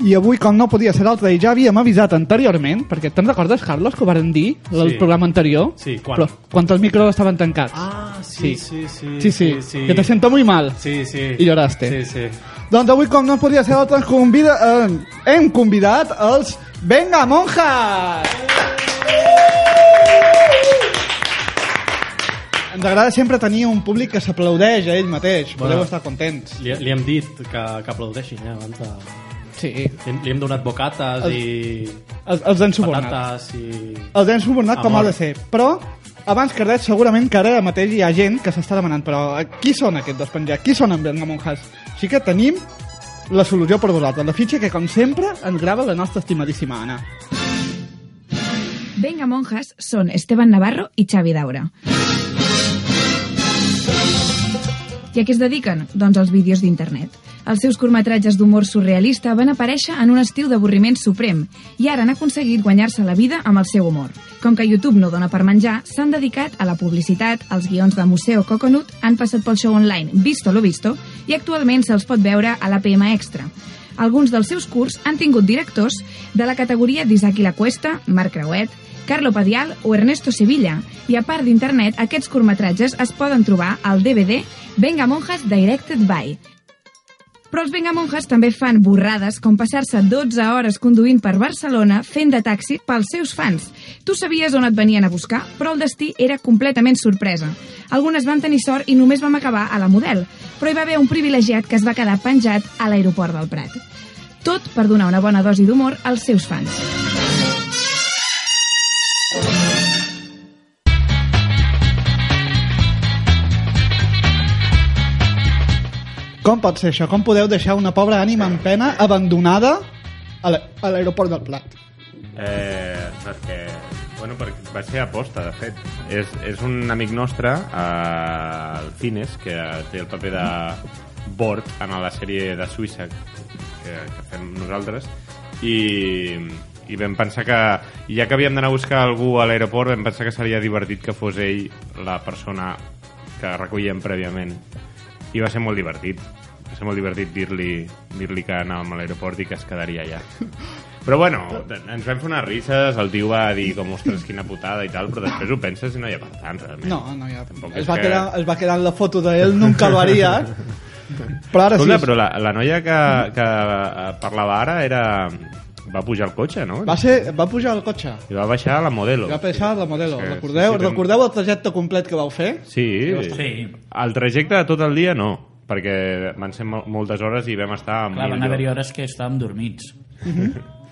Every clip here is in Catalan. I avui, com no podia ser d'altre, i ja havíem avisat anteriorment, perquè te'n recordes, Carlos, que ho varen dir al Sí. programa anterior? Sí, quan? Però, quan els micros estaven tancats. Ah, sí, sí, sí. Sí, sí, que te sento muy mal. Sí, sí. I lloraste. Sí, sí. Doncs avui, com no podia ser d'altre, ens convida, eh, hem convidat els Venga Monjas! Ens agrada sempre tenir un públic que s'aplaudeix a ell mateix. Bueno. Podeu estar contents. Li, li hem dit que, que aplaudeixin, ja, abans de... Sí, Li, hem- li hem donat bocates El- i els, els han subornat. patates i... els hem Ah, subornat com ha Amor. de ser. Però, abans que res, segurament que ara mateix hi ha gent que s'està demanant, però eh, qui són aquests dos penjats? Qui són en Benga Monjas? Així que tenim la solució per vosaltres, la fitxa que, com sempre, ens grava la nostra estimadíssima Anna. Venga Monjas son Esteban Navarro i Xavi Daura. I a què es dediquen? Doncs als vídeos d'internet. Els seus curtmetratges d'humor surrealista van aparèixer en un estiu d'avorriment suprem i ara han aconseguit guanyar-se la vida amb el seu humor. Com que YouTube no dona per menjar, s'han dedicat a la publicitat, els guions de Museo Coconut han passat pel show online Visto lo Visto i actualment se'ls pot veure a l'APM Extra. Alguns dels seus curts han tingut directors de la categoria d'Isaki La Cuesta, Marc Creuet, Carlo Padial o Ernesto Sevilla. I a part d'internet, aquests curtmetratges es poden trobar al DVD Venga Monjas Directed By. Però els Venga Monjas també fan borrades com passar-se 12 hores conduint per Barcelona fent de taxi pels seus fans. Tu sabies on et venien a buscar, però el destí era completament sorpresa. Algunes van tenir sort i només vam acabar a la model, però hi va haver un privilegiat que es va quedar penjat a l'aeroport del Prat. Tot per donar una bona dosi d'humor als seus fans. Com pot ser això? Com podeu deixar una pobra ànima en pena abandonada a la- a l'aeroport del Plat? Eh, perquè, bueno, perquè va ser aposta, de fet. És, és un amic nostre, eh, el Cines, que té el paper de Bort en la sèrie de Suïssa que, que fem nosaltres, i, i vam pensar que, ja que havíem d'anar a buscar algú a l'aeroport, vam pensar que seria divertit que fos ell la persona que recollíem prèviament. I va ser molt divertit. Va ser molt divertit dir-li dir que anàvem a l'aeroport i que es quedaria allà. Però bueno, ens vam fer unes risses, el tio va dir com, ostres, quina putada i tal, però després ho penses i no hi ha per tant, realment. No, no hi ha... Tampoc Es és va, que- quedar, es va quedar en la foto d'ell, nunca lo haría. Però ara sí, Escolta, és- però la, la noia que, que eh, parlava ara era... va pujar al cotxe, no? va, ser, va pujar al cotxe. I va baixar a la modelo. Va pesar la modelo. Sí, sí, Recordeu, sí, vam- recordeu el trajecte complet que vau fer? Sí, Sí. El trajecte de tot el dia no, perquè van ser mol moltes hores i vam estar... en Clar, mil van haver-hi llocs. hores que estàvem dormits.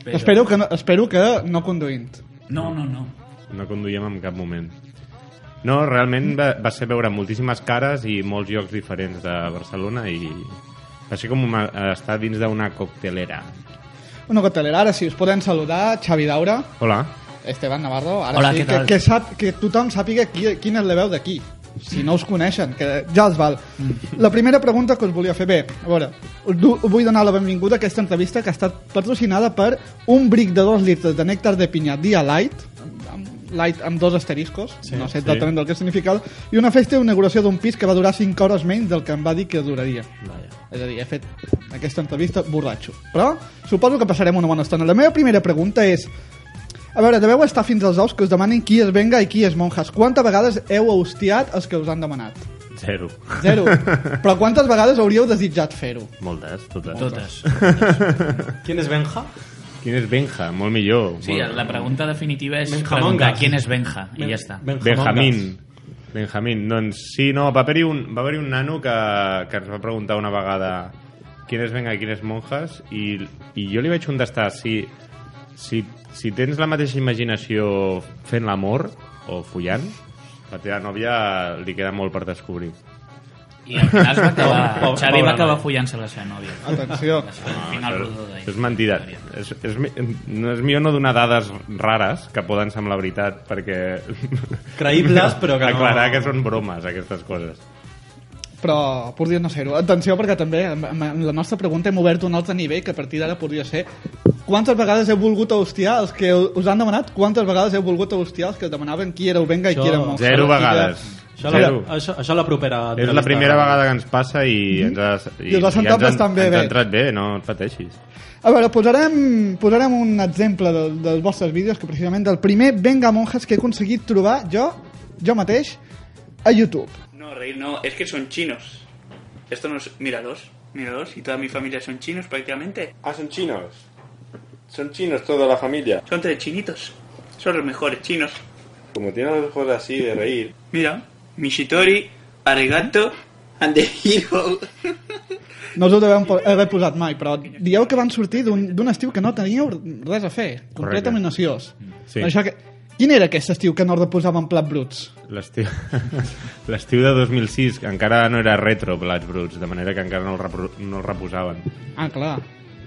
Però- Espero que, no, espero que no conduint. No, no, no. No conduïem en cap moment. No, realment va, va ser veure moltíssimes cares i molts llocs diferents de Barcelona i va ser com una, estar dins d'una coctelera. Una coctelera, ara sí, us podem saludar, Xavi Daura, Hola. Esteban Navarro, ara Hola, sí, què que, tal? que, sap, que tothom sàpiga qui, quin és la veu d'aquí, si no us coneixen, que ja els val. Mm. La primera pregunta que us volia fer, bé, a veure, us du- vull donar la benvinguda a aquesta entrevista que ha estat patrocinada per un bric de dos litres de nèctar de pinyà dia light, amb- amb- light amb dos asteriscos, Sí, no sé sí. exactament del que significa, i una festa d'inauguració d'un pis que va durar 5 hores menys del que em va dir que duraria. Vaja. És a dir, he fet aquesta entrevista borratxo. Però suposo que passarem una bona estona. La meva primera pregunta és... A veure, deveu estar fins als ous que us demanin qui és Venga i qui és Monjas. Quantes vegades heu hostiat els que us han demanat? Zero. Zero. Però quantes vegades hauríeu desitjat fer-ho? Moltes, totes. Totes. Quin és Benja? Quin és Benja? Molt millor. Sí, Molt... la pregunta definitiva és Benjamongas. preguntar quién és Benja, i Ben- ja està. Ben- Benjamín. Benjamín. Doncs sí, no, va haver-hi un, va haver un nano que, que ens va preguntar una vegada quin és venga, quin és monjas, i, i jo li vaig contestar si, si, si tens la mateixa imaginació fent l'amor o follant, la teva nòvia li queda molt per descobrir. I al final es va acabar... Pobre- Xavi va pobre acabar noi. follant-se la seva nòvia. Atenció. Va ser el final rodó d'ahir. Això és mentida. És, és, mi- no és millor no donar dades rares que poden semblar veritat perquè... Creïbles, però que no... Aclarar que són bromes, aquestes coses. Però podria no ser-ho. Atenció, perquè també amb- amb la nostra pregunta hem obert un altre nivell que a partir d'ara podria ser quantes vegades heu volgut hostiar els que us han demanat? Quantes vegades heu volgut hostiar els que us demanaven qui éreu Venga i qui Això- éreu Monjas? Zero Qui era- vegades. Això, la, Zero. això, això la propera És la primera vegada que ens passa i ens has, I els asentables ens han- també ens bé. ha entrat bé, no et pateixis. A veure, posarem, posarem un exemple de, dels vostres vídeos, que precisament del primer Venga Monjas que he aconseguit trobar jo, jo mateix, a YouTube. No, reír no, es que son chinos. Esto no es... Míralos, míralos, y toda mi familia son chinos prácticamente. Ah, son chinos. Son chinos toda tota la familia. Son tres chinitos. Son los mejores chinos. Como tienen los ojos así de reír. Mira, Mishitori, Arigato, and the hero. No us ho devem po- haver posat mai, però dieu que van sortir d'un d'un estiu que no teníeu res a fer, completament ociós. Sí. Això que... Quin era aquest estiu que no us posaven plat bruts? L'estiu l'estiu de 2006 encara no era retro Blats Bruts, de manera que encara no el, repro... no el reposaven. Ah, clar.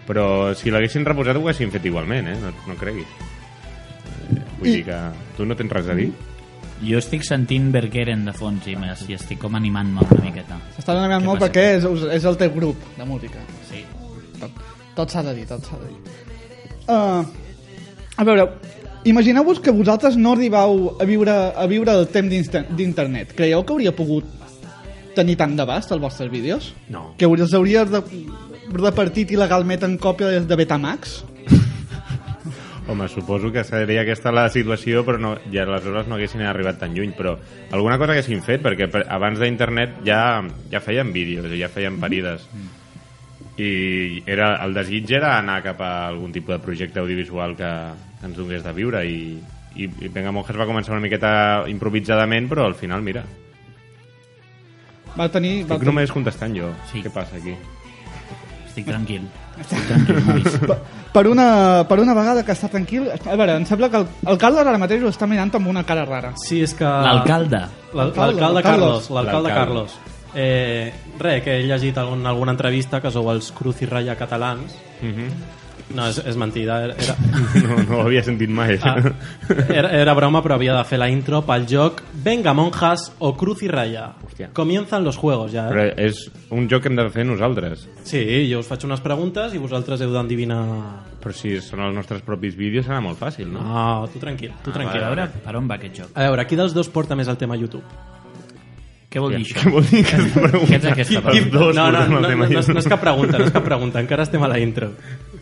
Però si l'haguessin reposat ho haguessin fet igualment, eh? No, no creguis. Eh, Vull dir que tu no tens res a dir. Jo estic sentint Bergeren de fons i, m'es- i estic com animant-me una miqueta. S'està demanant Què molt passa? perquè és, us- és el teu grup de música. Sí. Tot, tot s'ha de dir, tot s'ha de dir. Uh, a veure, imagineu-vos que vosaltres no arribau a viure, a viure el temps d'insta- d'internet. Creieu que hauria pogut tenir tant d'abast els vostres vídeos? No. Que els hauries de, repartit il·legalment en còpies de Betamax? Home, suposo que seria aquesta la situació, però no, ja aleshores no haguessin arribat tan lluny, però alguna cosa haguessin fet, perquè per- abans d'internet ja, ja feien vídeos, i ja feien parides. I era, el desig era anar cap a algun tipus de projecte audiovisual que, que ens donés de viure, i, i, i Venga Monjas va començar una miqueta improvisadament, però al final, mira, Va tenir... Va Estic tenir... només contestant jo. Sí. Què passa aquí? Estic tranquil. Estic tranquil, nois. Per, per, una, per una vegada que està tranquil... A veure, em sembla que el, el Carles ara mateix ho està mirant amb una cara rara. Sí, és que... Ah. L'alcalde. L'al- L'alcalde, L'alcalde Carlos. Carlos. L'alcalde Carlos. Eh, res, que he llegit algun, alguna entrevista que sou els Cruz i Raya catalans. Mhm. No, és, és mentida. Era, era, No, no ho havia sentit mai. ah, era, era broma, però havia de fer la intro pel joc Venga Monjas o Cruz i Raya. Hòstia. Comienzan los juegos, ja. Però Eh? és un joc que hem de fer nosaltres. Sí, jo us faig unes preguntes i vosaltres heu d'endevinar... Però si són els nostres propis vídeos serà molt fàcil, no? No, tu tranquil, Ah, tu tranquil. A veure, per on va aquest joc? A veure, qui dels dos porta més el tema YouTube? Què vol dir Què això? vol dir que és pregunta? Què és aquesta Els pregunta? dos no, no, portem no, el no, tema no, no, és- no és YouTube. cap pregunta, no és cap pregunta, encara estem a la intro.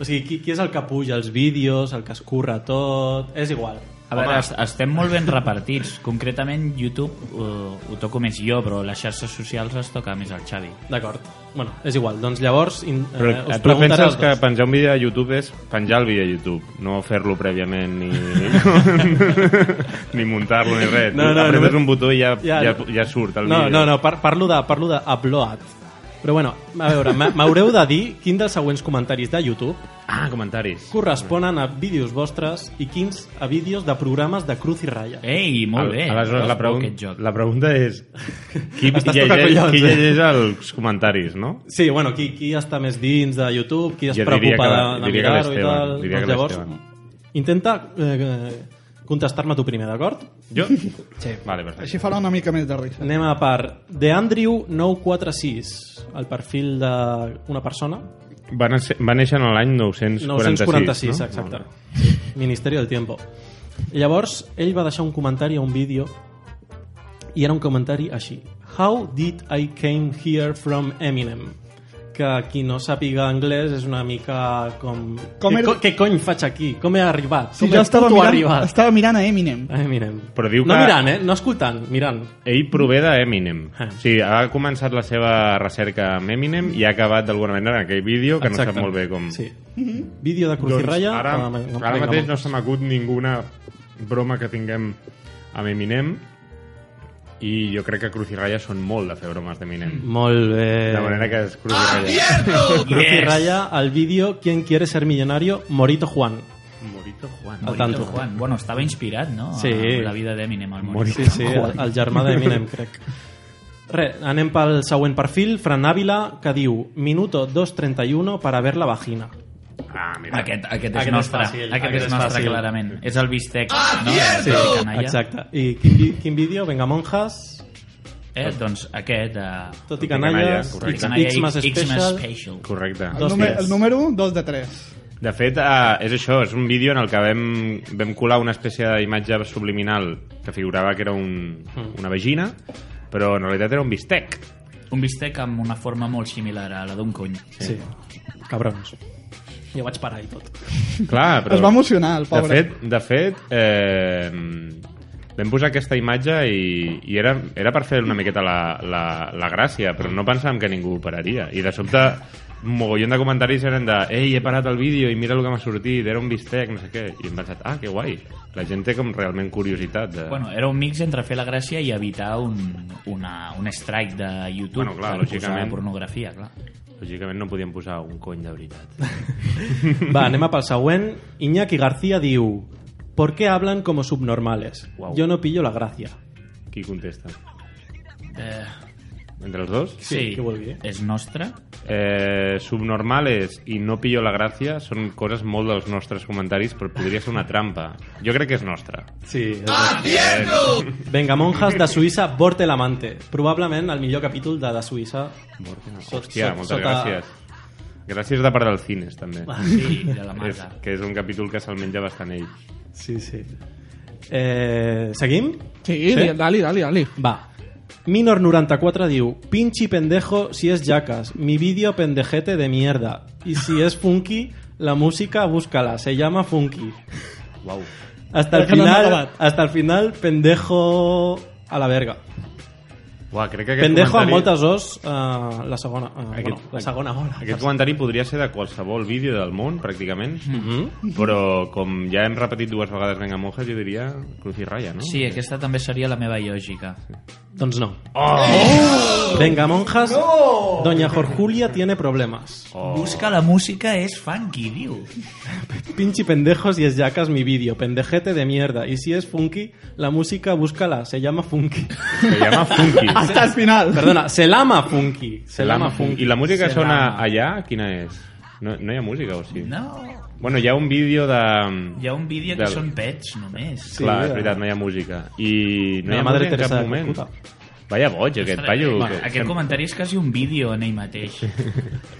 O sigui, qui, qui és el que puja els vídeos, el que es curra tot... És igual. A veure, es- estem molt ben repartits. Concretament, YouTube ho, ho toco més jo, però les xarxes socials les toca més el Xavi. D'acord. Bueno, és igual. Doncs llavors in, Però eh, us tu preguntaré penses els que dos. penjar un vídeo a YouTube és penjar el vídeo a YouTube, no fer-lo prèviament ni, ni muntar-lo ni res. No, no, Apretes només- un botó i ja, Ja, ja, ja, no. surt el No, vídeo. no, no, par parlo de, parlo de upload. Però bueno, a veure, m'ha- m'haureu de dir quin dels següents comentaris de YouTube Ah, comentaris. corresponen a vídeos vostres i quins a vídeos de programes de Cruz i Raya. Ei, molt Al- bé. Aleshores, la, Bravo, pregun Aquest joc. la pregunta és... Qui Estàs llegeix, tocant collons, qui eh? llegeix els comentaris, no? Sí, bueno, qui, qui està més dins de YouTube, qui es Jo diria preocupa que de, la- de diria que mirar-ho i l'Esteban, tal. Doncs diria que llavors, l'Esteban. intenta eh, contestar-me tu primer, d'acord? Jo? Sí. Vale, perfecte. Així farà una mica més de risa. Anem a part de Andrew946, el perfil d'una persona. Va, néixer, va néixer en l'any 946, 946, no? exacte. Molt bé. Ministeri del Tiempo. Llavors, ell va deixar un comentari a un vídeo i era un comentari així. How did I came here from Eminem? Que qui no sàpiga anglès és una mica com... Com com era- què, co- què cony faig aquí? Com he arribat? Si com jo he estava puto mirant, arribat? estava mirant a Eminem. A Eminem. Però diu no que- mirant, eh? No escoltant, mirant. Ell prové d'Eminem. Ah. O sigui, ha començat la seva recerca amb Eminem i ha acabat d'alguna manera en aquell vídeo que no Exacte. sap molt bé com... Sí. Vídeo de Cruz i Doncs Raya. ara, amb- amb- ara amb- mateix no se m'acut ninguna broma que tinguem amb Eminem i jo crec que Cruz i Raya són molt de fer bromes d'Eminem. Mm. Molt bé. De manera que és Cruz i Raya. Ah, Cruz y Raya al vídeo ¿Quién quiere ser millonario? Morito Juan. Morito Juan. Al Morito tanto. Juan. Bueno, estava inspirat, no? Sí. A la vida d'Eminem, el Morito. Sí, sí, el, el germà d'Eminem, crec. Re, anem pel següent perfil, Fran Ávila, que diu Minuto 2.31 para ver la vagina. Ah, mira. Aquest, aquest és Aquest és nostre, fàcil, aquest, aquest és és nostre, fàcil. clarament. És el bistec, no? Sí, Exacte. I quin, vi- quin vídeo? Venga, monjas. Eh, doncs aquest, eh, Tot i canalla, canalles. correcte. X, Canalla X más special. special. Correcte. El, Dos nume- dies. el número, dos de tres. De fet, eh, és això, és un vídeo en el que vam, Hmm. vam colar una espècie d'imatge subliminal que figurava que era un, una vagina però en realitat era un bistec. Un bistec amb una forma molt similar a la d'un cony. Sí. Cabrons. Jo vaig parar i tot. Clar, però... Es va emocionar, el pobre. De fet, de fet eh, vam posar aquesta imatge i, i era, era per fer una miqueta la, la, la gràcia, però no pensàvem que ningú ho pararia. I de sobte, un mogollon de comentaris eren de «Ei, he parat el vídeo i mira el que m'ha sortit, era un bistec, no sé què». I hem pensat «Ah, que guai». La gent té com realment curiositat. De... Bueno, era un mix entre fer la gràcia i evitar un, una, un strike de YouTube Bueno, clar, per lògicament. posar pornografia, clar. Lògicament no podíem posar un cony de veritat. Va, anem a pel següent. Iñaki García diu... ¿Por qué hablan como subnormales? Guau. Yo no pillo la gracia. Qui contesta? Eh, Entre els dos? sí, què vol dir? és nostre. Eh, subnormales i no pillo la gràcia són coses molt dels nostres comentaris, però podria ser una trampa. Jo crec que és nostra. Sí. Ah, Venga, monjas de Suïssa, Borte l'amante. Probablement el millor capítol de de Suïssa. Sot- Hòstia, sot- moltes sota- gràcies. Gràcies de part del cines, també. Sí, de la És, Marta. que és un capítol que se'l menja bastant ell. Sí, sí. Eh, seguim? Sí, Sí? dali, dali, dali. Va. Minor94 diu Pinchi pendejo si es jacas Mi vídeo pendejete de mierda Y si es funky, la música búscala Se llama funky Uau. Hasta el Perquè no hem final, acabat. hasta el final pendejo a la verga Uau, crec que aquest Pendejo amb comentari... moltes os eh, La segona eh, Aquest- bueno, La segona hora Aquest comentari podria ser de qualsevol vídeo del món, pràcticament, Mhm. però com ja hem repetit dues vegades Venga Monjas, jo diria Cruz i Raya, no? Sí, aquesta també seria la meva lògica. Doncs no Oh! Venga monjas Doña Jorjulia tiene problemas Oh. Busca la música és funky, diu. Pinche pendejos y es yacas mi vídeo. Pendejete de mierda. Y si es funky, la música búscala. Se llama funky. Se llama Funky. Hasta el final. Perdona, se llama funky. Ah, Se llama I funky. la música Se sona llama. allà? Quina és? No, no hi ha música, o sí? No. Bueno, hi ha un vídeo de... Hi ha un vídeo que Del- són pets, només. Sí. Clar, és de- veritat, no hi ha música. I no De hi ha Madre música en Teresa cap de moment. Calcuta. Vaya boig, aquest paio. Bueno, que aquest sem- comentari és quasi un vídeo en ell mateix.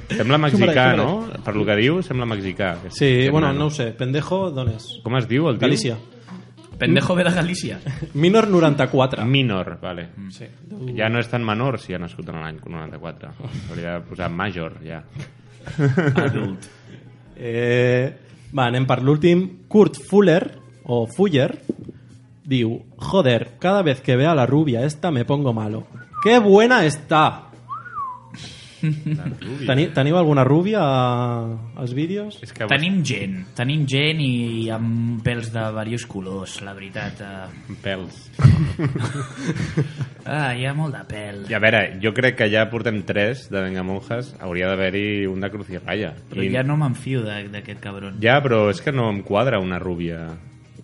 Sembla mexicà, Xumaré, no? Per lo que diu, sembla mexicà. aquest- Sí, aquest bueno, nano. no ho sé. Pendejo, d'on és? Com es diu el tio? Galícia. Pendejo ve de Galícia. Minor 94. Minor, vale. Mm. Sí. Ja no és tan menor si ha nascut en l'any 94. Hauria de posar major, ja. Adult. Eh, va, anem per l'últim. Kurt Fuller, o Fuller, diu... Joder, cada vez que vea a la rubia esta me pongo malo. ¡Qué buena está! Teni, teniu alguna rúbia a- als vídeos? És que tenim... Tenim gent, tenim gent i amb pèls de diversos colors, la veritat. eh. pèls. Ah, hi ha molt de pèl. I a veure, jo crec que ja portem tres de Venga Monjas. Hauria d'haver-hi un de Cruz i Raya. Però I- ja no m'enfio de- d'aquest cabron. Ja, però és que no em quadra una rúbia.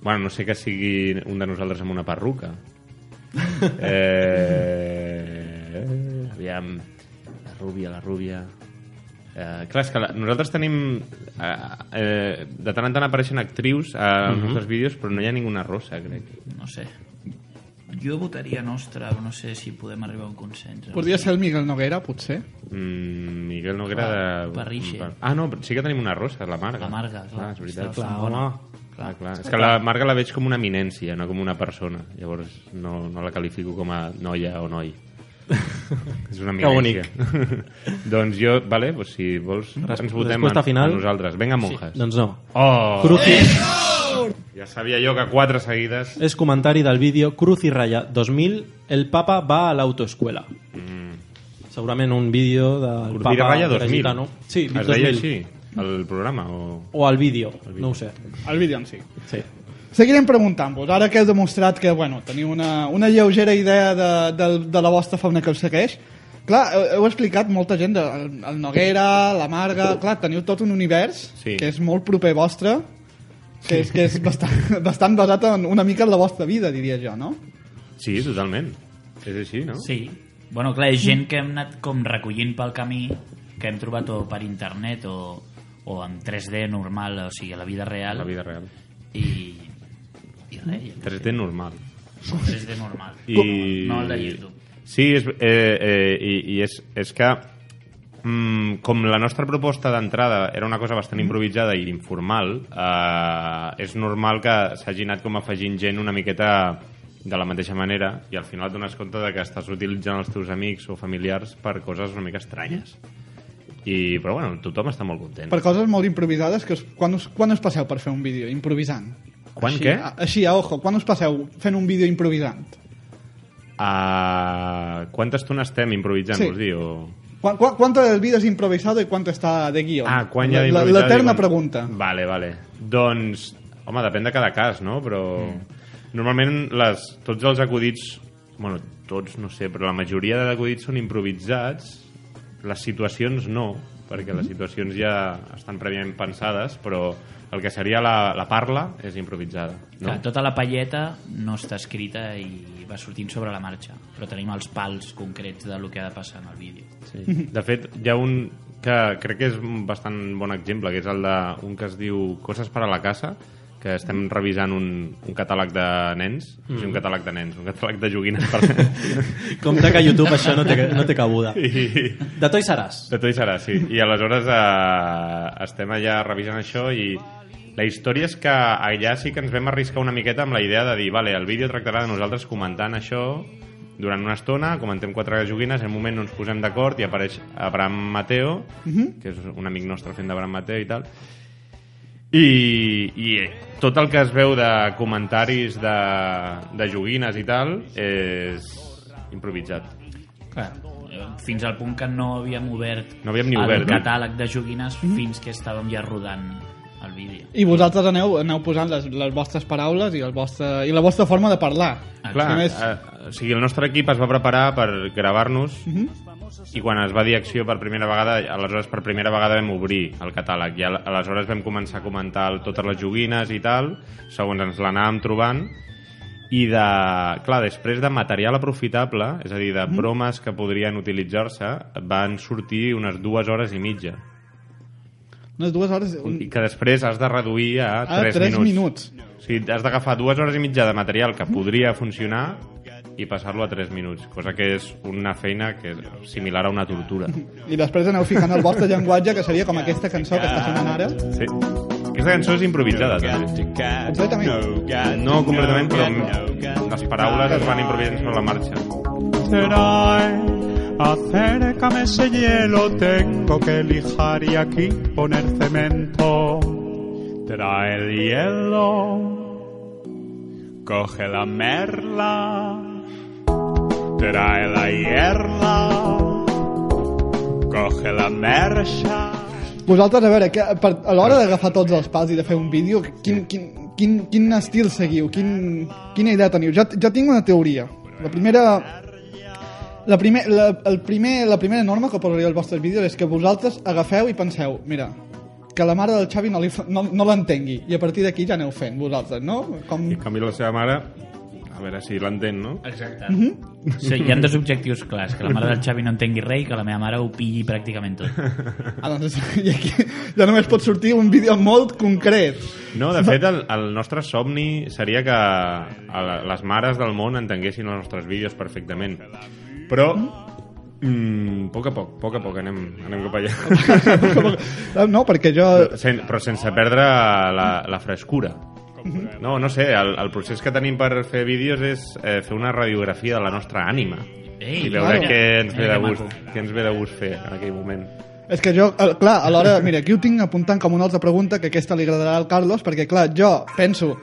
Bueno, no sé que sigui un de nosaltres amb una perruca. eh... Aviam, la rúbia, la rúbia... Eh, clar, és que la, nosaltres tenim... Eh, eh, de tant en tant apareixen actrius als nostres vídeos, però no hi ha ninguna rossa, crec. No sé. Jo votaria nostra, però no sé si podem arribar a un consens. Podria ser el Miguel Noguera, potser. Mm, Miguel no agrada... Parrixe. Ah, no, però sí que tenim una rossa, la Marga. La Marga, clar. Ah, és veritat. Està- Clar, home. Clar, clar. És que la Marga la veig com una eminència, no com una persona. Llavors no, no la qualifico com a noia o noi. És una Que bonic. eminència. doncs jo, vale, pues si vols, ens votem resposta a, final? a nosaltres. Venga, monjas. Doncs no. Oh, Cruci ja sabia jo que quatre seguides... és comentari del vídeo Cruz i Raya 2000, el papa va a l'autoescuela. Segurament un vídeo del Curtira papa Raya 2000. gitano. Sí, es deia 2000. així, el programa? O... O al vídeo, no ho sé. El vídeo en si. Sí. Seguirem preguntant-vos. Ara que heu demostrat que bueno, teniu una, una lleugera idea de, de, de la vostra fauna que us segueix, clar, heu, heu explicat molta gent, de, el, el Noguera, la Marga... Clar, teniu tot un univers Sí. que és molt proper vostre, que és, que és bastant, bastant basat en una mica en la vostra vida, diria jo, no? Sí, totalment. És així, no? Sí. Bueno, clar, és gent que hem anat com recollint pel camí, que hem trobat o per internet o, o en 3D normal, o sigui, a la vida real. La vida real. I, i res, i 3D normal. en 3D normal. I... No el de YouTube. Sí, és, eh, eh, i, i és, és que mm, com la nostra proposta d'entrada era una cosa Mm. bastant improvisada i informal, eh, és normal que s'hagi anat com afegint gent una miqueta de la mateixa manera i al final dones compte de que estàs utilitzant els teus amics o familiars per coses una mica estranyes. I, però bueno, tothom està molt content. Per coses molt improvisades, que us, quan, us, quan us passeu per fer un vídeo improvisant? Quan així, què? A, així, a ojo, quan us passeu fent un vídeo improvisant? Uh, quanta estona estem improvisant, Sí. vols dir? O... Quan, quan, ¿Cuánto del vídeo es improvisado y cuánto está de guió? Ah, quan hi ha La- la- d'improvisar, L'eterna diuen. pregunta. Vale, vale. Doncs, home, depèn de cada cas, no? Però normalment les, tots els acudits... Bueno, tots, no sé, però la majoria de acudits són improvisats. Les situacions no, perquè Mhm. les situacions ja estan prèviament pensades, però el que seria la, la parla és improvisada. No? Clar, tota la palleta no està escrita i va sortint sobre la marxa, però tenim els pals concrets de lo que ha de passar en el vídeo. Sí. De fet, hi ha un que crec que és un bastant bon exemple, que és el d'un que es diu Coses per a la casa, que estem revisant un, un catàleg de nens, mm. sí, un catàleg de nens, un catàleg de joguines per... Compte que a YouTube això no té, no té cabuda. I, De Toys R Us. de tot i serà, sí. I aleshores eh, estem allà revisant això i la història és que allà sí que ens vam arriscar una miqueta amb la idea de dir vale, el vídeo tractarà de nosaltres comentant això durant una estona, comentem quatre joguines, en un moment no ens posem d'acord i apareix Abraham Mateo, que és un amic nostre fent d'Abraham Mateo i tal, i, i eh, tot el que es veu de comentaris de, de joguines i tal és improvisat. Clar, eh, fins al punt que no havíem obert, No havíem ni el obert, no? Mm-hmm. catàleg de joguines fins que estàvem ja rodant el vídeo. I vosaltres aneu, aneu posant les, les vostres paraules i, el vostre, i la vostra forma de parlar. Clar, Només- eh, o sigui, el nostre equip es va preparar per gravar-nos i quan es va dir acció per primera vegada, aleshores per primera vegada vam obrir el catàleg i al- aleshores vam començar a comentar el- totes les joguines i tal, segons ens l'anàvem trobant i de, clar, després de material aprofitable, és a dir, de bromes que podrien utilitzar-se, van sortir unes dues hores i mitja. Unes dues hores... Un, I que després has de reduir a, a tres, Mm. Ah, tres minuts. minuts. O sigui, has d'agafar dues hores i mitja de material que podria funcionar i passar-lo a 3 minuts, cosa que és una feina que és similar a una tortura. I després aneu ficant el vostre llenguatge, que seria com aquesta cançó que està sonant ara. Sí. Aquesta cançó és improvisada, també. Completament. No completament, però mm, les paraules es van improvisant sobre la marxa. Será acércame ese hielo, tengo que lijar y aquí poner cemento. Trae el hielo, coge la merla, trae la hierla, coge la mercha. Vosaltres, a veure, que, per, a l'hora d'agafar tots els pals i de fer un vídeo, quin, quin, quin, quin estil seguiu? Quin, quina idea teniu? Jo, jo tinc una teoria. La primera... La, primer, la, el primer, la primera norma que posaria als vostres vídeos és que vosaltres agafeu i penseu, mira, que la mare del Xavi no li fa- no, no l'entengui i a partir d'aquí ja aneu fent vosaltres, no? Com... I en canvi la seva mare, a veure si l'entén, no? Exacte. Mm-hmm. Sí, hi ha dos objectius clars, que la mare del Xavi no entengui res i que la meva mare ho pilli pràcticament tot. Ah, doncs, i aquí ja només pot sortir un vídeo molt concret. No, de fet, el, el nostre somni seria que a la- les mares del món entenguessin els nostres vídeos perfectament. Però, mm, a poc a poc, a poc a poc anem, anem cap allà. No, perquè jo... Sen, però sense perdre la, la frescura. No, no sé, el, el procés que tenim per fer vídeos és eh, fer una radiografia de la nostra ànima Ei, i veure claro. què ens ve Mira de que gust, maco. què ens ve de gust fer en aquell moment. És que jo, eh, clar, a l'hora... Mira, aquí ho tinc apuntant com una altra pregunta que aquesta li agradarà al Carlos, perquè, clar, jo penso...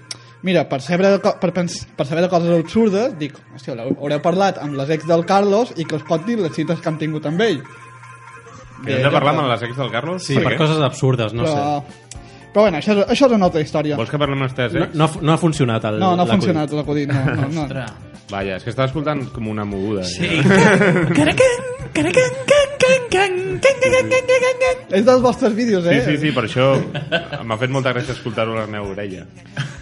Mira, per saber de, co- per, pens- per saber de coses absurdes, dic, hòstia, haureu- haureu parlat amb les ex del Carlos i que us pot dir les cites que han tingut amb ell. doncs Que hem de parlar amb les ex del Carlos? Sí, per què? coses absurdes, no però... sé. Però bueno, això, és- això és una altra història. Vols que parlem amb les teves No, ex? no, ha- no ha funcionat el, No, no ha l'acudit. funcionat l'acudit, no, no, no. Ostres. Vaja, és que estava escoltant com una moguda. Sí. És dels vostres vídeos, Sí, eh? sí, sí, per això m'ha fet molta gràcia escoltar-ho a la meva orella.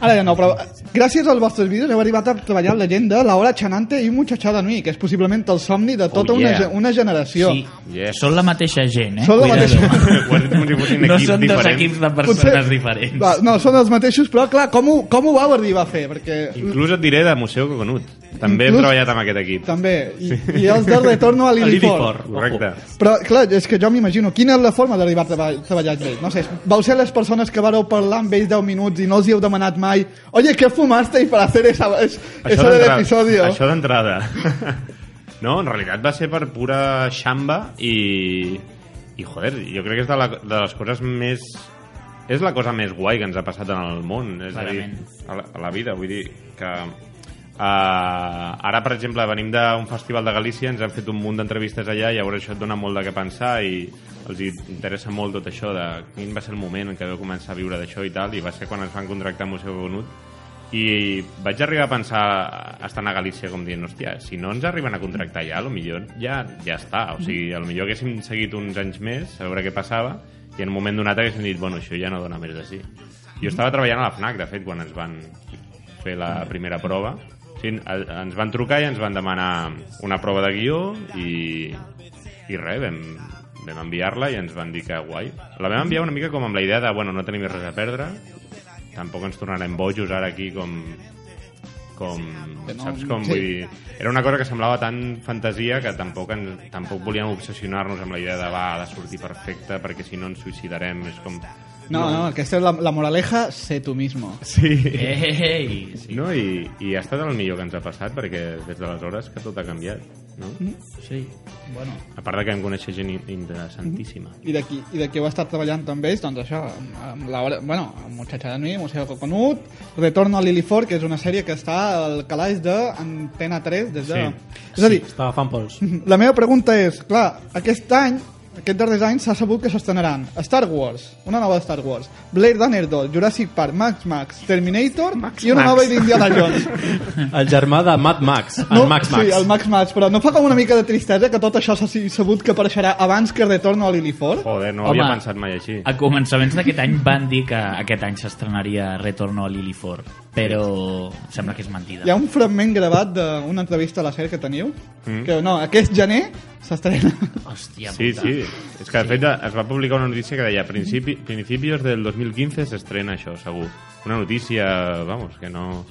Ara ja no, però eh, gràcies als vostres vídeos heu arribat a treballar la gent de La Hora Chanante i Muchachada Nui, que és possiblement el somni de tota Oh, una, yeah. ge- una generació. Sí, Yes. són la mateixa gent, eh? Són la Cuidado. mateixa- Ho has dit com si fossin No equips són dos diferents. equips de persones diferents. Va, no, són els mateixos, però clar, com ho, com ho vau arribar a fer? Perquè Inclús et diré de Museu Coconut. També Inclús- he treballat amb aquest equip. També. I, i els de retorno a l'Ilifort. Lilliput. Correcte. Però, clar, és que jo m'imagino quina és la forma d'arribar a treball- treballar amb ells. No sé, vau ser les persones que vareu parlar amb ells 10 minuts i no els hi heu demanat mai oye, ¿qué fumaste para hacer esa, es, eso del d'entrada- episodio? Això d'entrada. no, en realitat va ser per pura xamba i... I, joder, jo crec que és de, la, de les coses més... És la cosa més guai que ens ha passat en el món. És a dir, Clarament. a la, a la vida, vull dir que... Uh, ara, per exemple, venim d'un festival de Galícia, ens han fet un munt d'entrevistes allà i llavors això et dona molt de què pensar i els hi interessa molt tot això de quin va ser el moment en què vau començar a viure d'això i tal, i va ser quan ens van contractar amb Museu Bonut i vaig arribar a pensar estant a Galícia com dient, hòstia, si no ens arriben a contractar ja, millor ja, ja està, o sigui, millor haguéssim seguit uns anys més a veure què passava i en un moment donat haguéssim dit, bueno, això ja no dona més de sí. Jo estava treballant a la FNAC, de fet, quan ens van fer la primera prova. O sigui, el- ens van trucar i ens van demanar una prova de guió i, i res, vam, vam enviar-la i ens van dir que guai. La vam enviar una mica com amb la idea de, bueno, no tenim res a perdre, tampoc ens tornarem bojos ara aquí com com, Que no- saps com, sí. vull dir, era una cosa que semblava tan fantasia que tampoc, ens, tampoc volíem obsessionar-nos amb la idea de, va, ha de sortir perfecte perquè si no ens suïcidarem, és com... No, no, aquesta és la, la moraleja, sé tu mismo. Sí. Ei, sí. No, i, i ha estat el millor que ens ha passat perquè des d'aleshores que tot ha canviat no? Mm. sí. Bueno. a part de que em coneixer gent in- interessantíssima I d'aquí i de qui heu estat treballant amb ells, doncs això, amb, amb la, bueno, amb Muchacha de mi, Museo Coconut, Retorno a Lilifort, que és una sèrie que està al calaix d'Antena 3 des de... Sí. És a dir, Estava fan pols. La meva pregunta és, clar, aquest any, aquests darrers anys s'ha sabut que s'estrenaran Star Wars, una nova Star Wars, Blade Runner 2, Jurassic Park, Max Max, Terminator Max, i una Max. nova d'Indiana Jones. El germà de Mad Max, el Max Max. Sí, el Max Max, però no fa com una mica de tristesa que tot això s'ha si- sabut que apareixerà abans que Retorno a Lilifort? joder, no Home. havia pensat mai així A començaments d'aquest any van dir que aquest any s'estrenaria Retorno a Lillifort, però sembla que és mentida. Hi ha un fragment gravat d'una entrevista a la sèrie que teniu, mm. que no, aquest gener s'estrena. Hòstia sí, puta. sí, és que de fet es va publicar una notícia que deia principi, principios del 2015 s'estrena això, segur una notícia, vamos, que no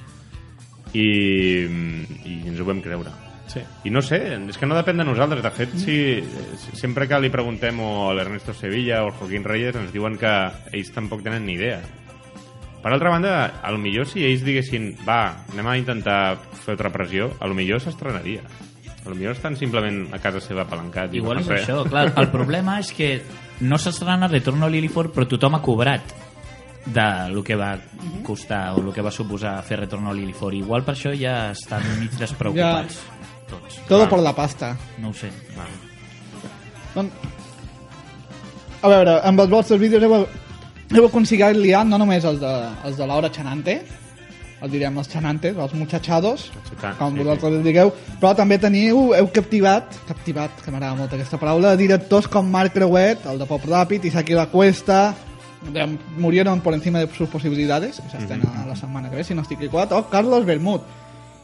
i, i ens ho vam creure Sí. I no sé, és que no depèn de nosaltres. De fet, si, sempre que li preguntem o a l'Ernesto Sevilla o al Joaquín Reyes ens diuen que ells tampoc tenen ni idea. Per altra banda, a lo millor si ells diguessin va, anem a intentar fer otra pressió, a lo millor s'estrenaria. A lo millor estan simplement a casa seva apalancat. i no Igual és fan res. això, clar. El problema és que no s'estrena Retorno a Lillifort, però tothom ha cobrat de lo que va costar o lo que va suposar fer Retorno a Lillifort. Igual per això ja estan mig despreocupats. Tots. Todo por la pasta. No ho sé. Doncs... A veure, amb els vostres vídeos heu, heu aconseguit liar no només els de, els de Laura Chanante, el direm els Chanantes, els muchachados, Muchachans, com sí, vosaltres sí. digueu, però també teniu, heu captivat, captivat, que m'agrada molt aquesta paraula, directors com Marc Creuet, el de Pop Ràpid, Isaki La Cuesta, de- murieron por encima de sus posibilidades, que s'estrena Mm-hmm. mm -hmm. la setmana que ve, si no estic equivocat, o Carlos Bermud.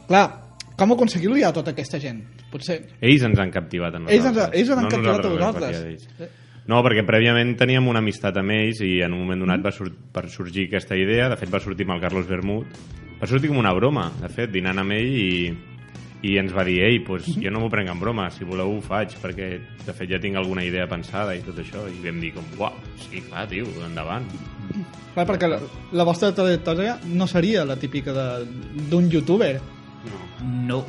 Clar, com aconseguir liar tota aquesta gent? Potser... Ells ens han captivat a nosaltres. Ells, ens, ells han No captivat a nosaltres vam vosaltres. captivar ells. Eh, No, perquè prèviament teníem una amistat amb ells i en un moment Mm. donat va, sur per sorgir aquesta idea. De fet, va sortir amb el Carlos Bermud. Va sortir com una broma, de fet, dinant amb ell i, i ens va dir ei, pues, Mm-hmm. jo no m'ho prenc en broma, si voleu ho faig, perquè de fet ja tinc alguna idea pensada i tot això. I vam dir com, uau, sí, clar, tio, endavant. Clar, perquè la, la vostra trajectòria no seria la típica de- d'un youtuber. No.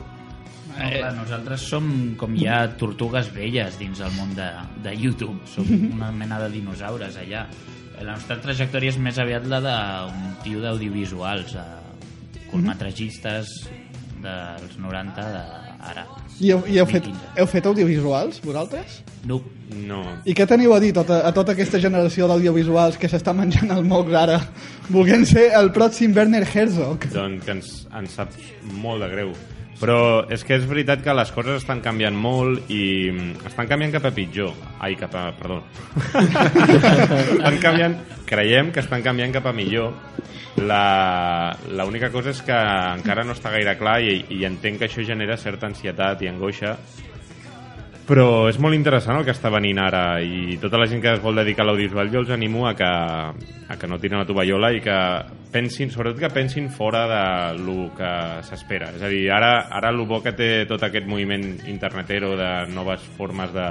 No, clar, nosaltres som com hi ha tortugues velles dins el món de, de YouTube. Som una mena de dinosaures allà. La nostra trajectòria és més aviat la d'un tio d'audiovisuals, de curtmetratgistes dels 90 de ara. I heu, i heu, fet, 2015. heu fet audiovisuals, vosaltres? No. No, I què teniu a dir tota, a tota aquesta generació d'audiovisuals que s'està menjant el mocs ara, volent ser el pròxim Werner Herzog? Doncs que ens, ens sap molt de greu. Però és que és veritat que les coses estan canviant molt i mm, estan canviant cap a pitjor. Ai, cap a... perdó. estan canviant... Creiem que estan canviant cap a millor. La- L'única cosa és que encara no està gaire clar i, i entenc que això genera certa ansietat i angoixa Però és molt interessant el que està venint ara i tota la gent que es vol dedicar a l'audiovisual jo els animo a que, a que no tiren la tovallola i que pensin, sobretot que pensin fora de lo que s'espera. És a dir, ara, ara el bo que té tot aquest moviment internetero de noves formes de,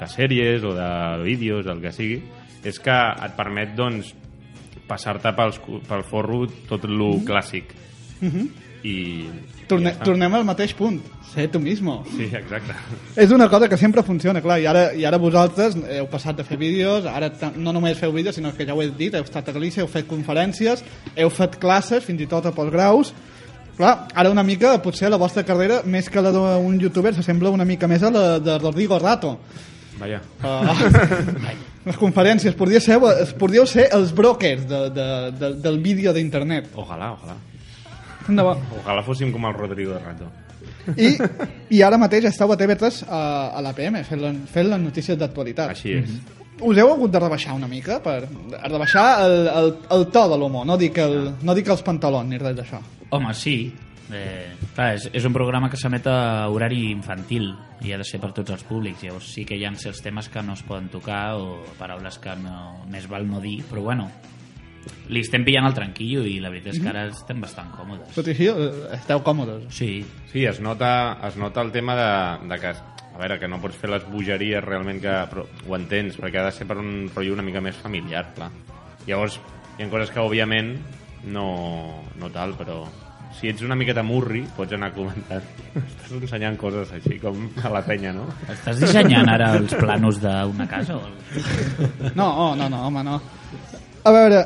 de sèries o de vídeos, el que sigui, és que et permet doncs, passar-te pels cu- pel forro tot el clàssic. I, Mhm. Torne, i ja està. tornem al mateix punt. Sé tu mismo. Sí, exacte. És una cosa que sempre funciona, clar, i ara, i ara vosaltres eh, heu passat de fer vídeos, ara ta- no només feu vídeos, sinó que ja ho he dit, heu estat a Galícia, heu fet conferències, heu fet classes, fins i tot a postgraus, clar, ara una mica, potser la vostra carrera, més que la d'un youtuber, s'assembla una mica més a la de Rodrigo Rato. Vaja. Ah. les conferències, podríeu ser, podríeu ser els brokers de, de, de, del vídeo d'internet. Ojalà, ojalà. Endavant. Ojalà fóssim com el Rodrigo de Rato. I, i ara mateix esteu a TV3 a, a l'APM fent, la- fent les notícies d'actualitat. Així és. Us heu hagut de rebaixar una mica per rebaixar el, el, el to de l'humor, no dic, el, no dic els pantalons ni res d'això. Home, sí. Eh, clar, és, és un programa que s'emet a horari infantil i ha de ser per tots els públics. Llavors sí que hi ha certs temes que no es poden tocar o paraules que no, més val no dir, però bueno, li estem pillant el tranquillo i la veritat és que Mhm. ara estem bastant còmodes. Tot i així, eh, esteu còmodes. Sí, Sí, es nota, es nota el tema de, de que, a veure, que no pots fer les bogeries realment que però ho entens, perquè ha de ser per un rotllo una mica més familiar, clar. Llavors, hi ha coses que, òbviament, no, no tal, però si ets una miqueta murri, pots anar comentant. Estàs ensenyant coses així com a la penya, no? Estàs dissenyant ara els planos d'una casa? O... No, oh, no, no, home, no. A veure,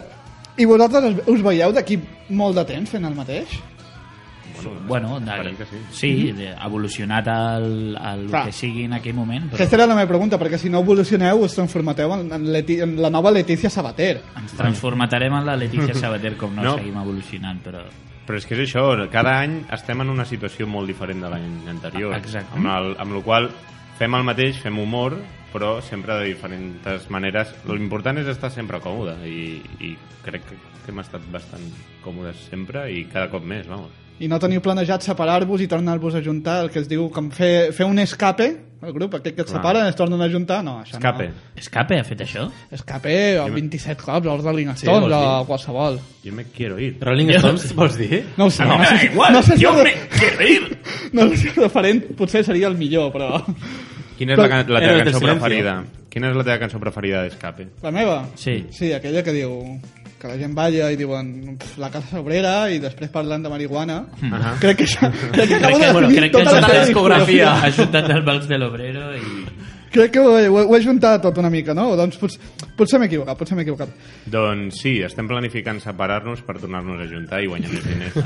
i vosaltres us- us veieu d'aquí molt de temps fent el mateix? Bueno, de, esperem que sí. Mhm. sí, de, evolucionat al, al Clar. que sigui en aquell moment, però Aquesta era la meva pregunta, perquè si no evolucioneu us transformateu en, en, Leti, en la nova Letícia Sabater. ens transformatarem en la Letícia Sabater com no, No. no. seguim evolucionant, però... Però és que és això, cada any estem en una situació molt diferent de l'any anterior. Ah, exacte. Amb, el, amb la qual cosa fem el mateix, fem humor, però sempre de diferents maneres. L'important és estar sempre còmode i, i crec que hem estat bastant còmodes sempre i cada cop més, vamos. I no teniu planejat separar-vos i tornar-vos a juntar, el que es diu com fer, fer un escape, el grup aquest que et Clar. separa, es tornen a juntar? No, això Escape. no. Escape ha fet això? Escape o 27 cops, o els Rolling Sí, Stones, vols o dir? qualsevol. Jo me quiero ir. Rolling Stones, vols dir? No ho sé, no, sé, si- no sé si el re- no sé si el referent potser seria el millor, però... Quina és la, Però- can- Héroes la teva del cançó silencio. preferida? Quina és la teva cançó preferida d'Escape? La meva? Sí. Sí, aquella que diu que la gent balla i diuen "Pf, la casa obrera i després parlant de marihuana. Ahà. Crec que això... Crec que, acabo de bueno, definir crec que tota la és una seva discografia. Ha juntat el Vals de l'Obrero i... Crec que ho he, ho he- ho he juntat tot una mica, no? Doncs potser, potser m'he equivocat, potser m'he equivocat. Doncs sí, estem planificant separar-nos per tornar-nos a juntar i guanyar més diners.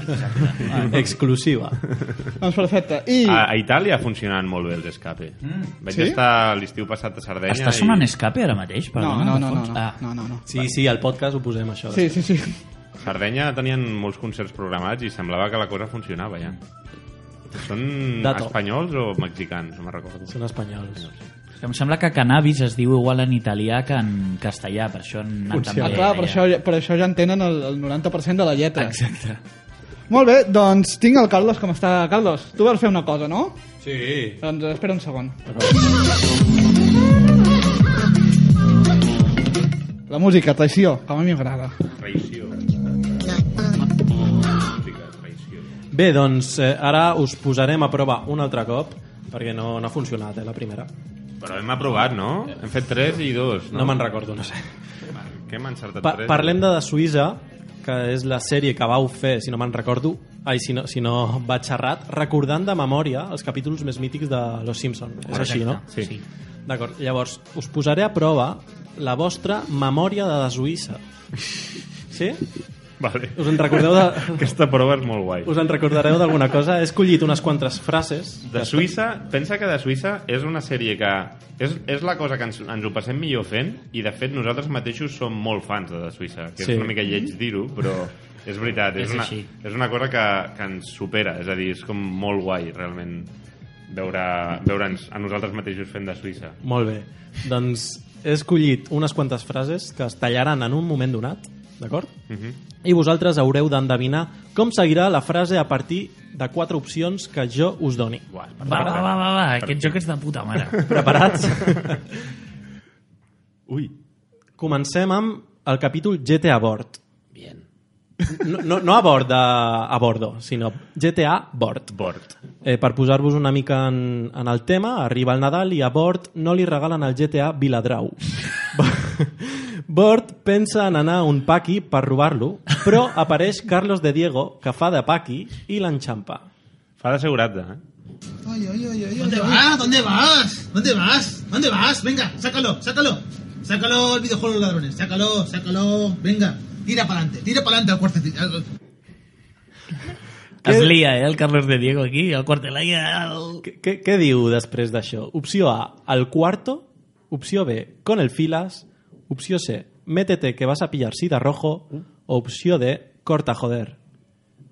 Ah, Exclusiva. Doncs perfecte. I A, a Itàlia funcionaven molt bé els escape. Mm. Vaig Sí? estar l'estiu passat a Sardenya Està sonant escape ara mateix? Perdó, No, no, no, no, Alfons? no, no, no, no. Sí, sí, al podcast ho posem, això. Sí, sí, sí. i Sardenya tenien molts concerts programats i semblava que la cosa funcionava ja. Són Dato. espanyols o mexicans? No me'n recordo. Són espanyols. És que em sembla que cannabis es diu igual en italià que en castellà, per això han anat Funciona. també... Ah, clar, per allà. això, per això ja entenen el, el 90% de la lletra. Exacte. Molt bé, doncs tinc el Carlos com està. Carlos, tu vas fer una cosa, no? Sí. Doncs espera un segon. La música, traïció, com a mi m'agrada. Traïció. Música, traïció. Bé, doncs eh, ara us posarem a prova un altre cop, perquè no, no ha funcionat, eh, la primera. Però hem aprovat, no? Hem fet 3 i 2, No, no? me'n recordo, no sé. Què hem encertat Pa 3? parlem de, de Suïssa, que és la sèrie que vau fer, si no me'n recordo, ai, si no, si no vaig errat, recordant de memòria els capítols més mítics de Los Simpson. És així, no? Sí. Sí. D'acord, llavors, us posaré a prova la vostra memòria de la Suïssa. Sí? Vale. Us en recordeu de... Aquesta prova és molt guai. Us en recordareu d'alguna cosa? He escollit unes quantes frases. De Suïssa, pensa que de Suïssa és una sèrie que és, és la cosa que ens, ens ho passem millor fent i de fet nosaltres mateixos som molt fans de de Suïssa, que sí. Sí. és una mica lleig dir-ho, però és veritat, és, És una, així. és una cosa que, que ens supera, és a dir, és com molt guai realment veure veure'ns a nosaltres mateixos fent de Suïssa. Molt bé. Doncs he escollit unes quantes frases que es tallaran en un moment donat d'acord? I vosaltres haureu d'endevinar com seguirà la frase a partir de quatre opcions que jo us doni. Va, va, va, va, va, aquest joc és de puta mare. Preparats? Ui. Comencem amb el capítol GTA Bord. Bien. No, no, no a bord, de, a bordo, sinó GTA Bord. Bord. Eh, per posar-vos una mica en, en el tema, arriba el Nadal i a Bord no li regalen el GTA Viladrau. Bord pensa en anar a un paqui per robar-lo, però apareix Carlos de Diego, que fa de paqui, i l'enxampa. Fa d'assegurat-te, eh? ¿Dónde vas? ¿Dónde vas? ¿Dónde vas? ¿Dónde vas? Venga, sácalo, sácalo. Sácalo el videojuego de los ladrones. Sácalo, sácalo. Venga, tira para adelante, tira para adelante al cuartecito. al- Es lia, eh, el Carlos de Diego aquí, el quartelai... El... Què- Què què diu després d'això? Opció A, al cuarto. Opció B, con el filas. Opció C, métete que vas a pillar sida rojo. Opció D, corta joder.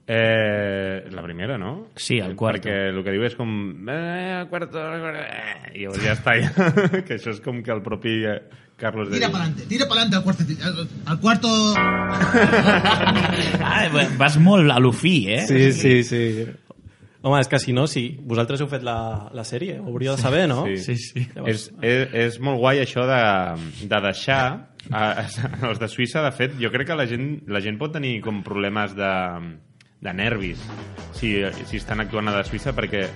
Eh, la primera, no? Sí, el quarto. Perquè el que diu és com... Eh, el quarto... eh, I llavors ja està, ja. que això és com que el propi eh, Carlos de Tira para adelante, tira para adelante al cuartecito. al- Al cuarto. Ah, vas molt a l'ofí, eh? Sí, sí, sí. Home, és que si no, si vosaltres heu fet la, la sèrie, ho hauríeu de saber, no? Sí. Sí, sí. És, és, és molt guai això de, de deixar a, a, els de Suïssa, de fet, jo crec que la gent, la gent pot tenir com problemes de, de nervis si, si estan actuant a la Suïssa perquè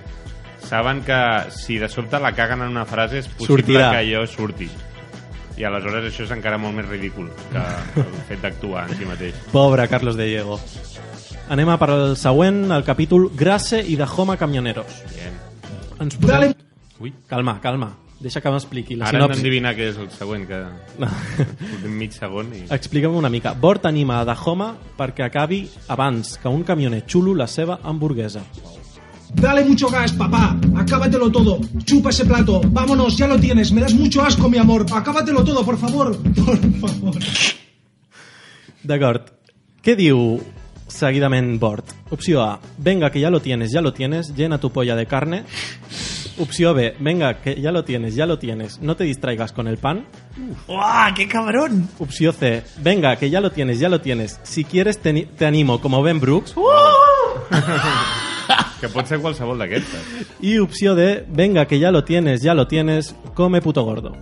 saben que si de sobte la caguen en una frase és possible Sortirà. que allò surti i aleshores això és encara molt més ridícul que el fet d'actuar en si mateix Pobre Carlos de Diego. Anem a per al següent, el capítol Grasse i de Home Camioneros. Bien. Ens posem... Ui, Calma, calma. Deixa que m'expliqui la ara hem sinopsi. d'endevinar què és el següent que No. l'últim mig segon i... Explica'm una mica. Bort anima a Dahoma perquè acabi abans que un camioner xulo la seva hamburguesa. Dale mucho gas, papá. Acábatelo todo. Chupa ese plato. Vámonos, ya lo tienes. Me das mucho asco, mi amor. Acábatelo todo, por favor. Por favor. D'acord. Què diu seguidament Bort? Opció A. Venga, que ya lo tienes, ya lo tienes. Llena tu polla de carne. Opció B. Venga, que ya lo tienes, ya lo tienes. No te distraigas con el pan. Uah, que cabrón! Opció C. Venga, que ya lo tienes, ya lo tienes. Si quieres te, ni- te animo como Ben Brooks. que pot ser qualsevol d'aquestes Y opció D. Venga, que ya lo tienes, ya lo tienes. Come puto gordo.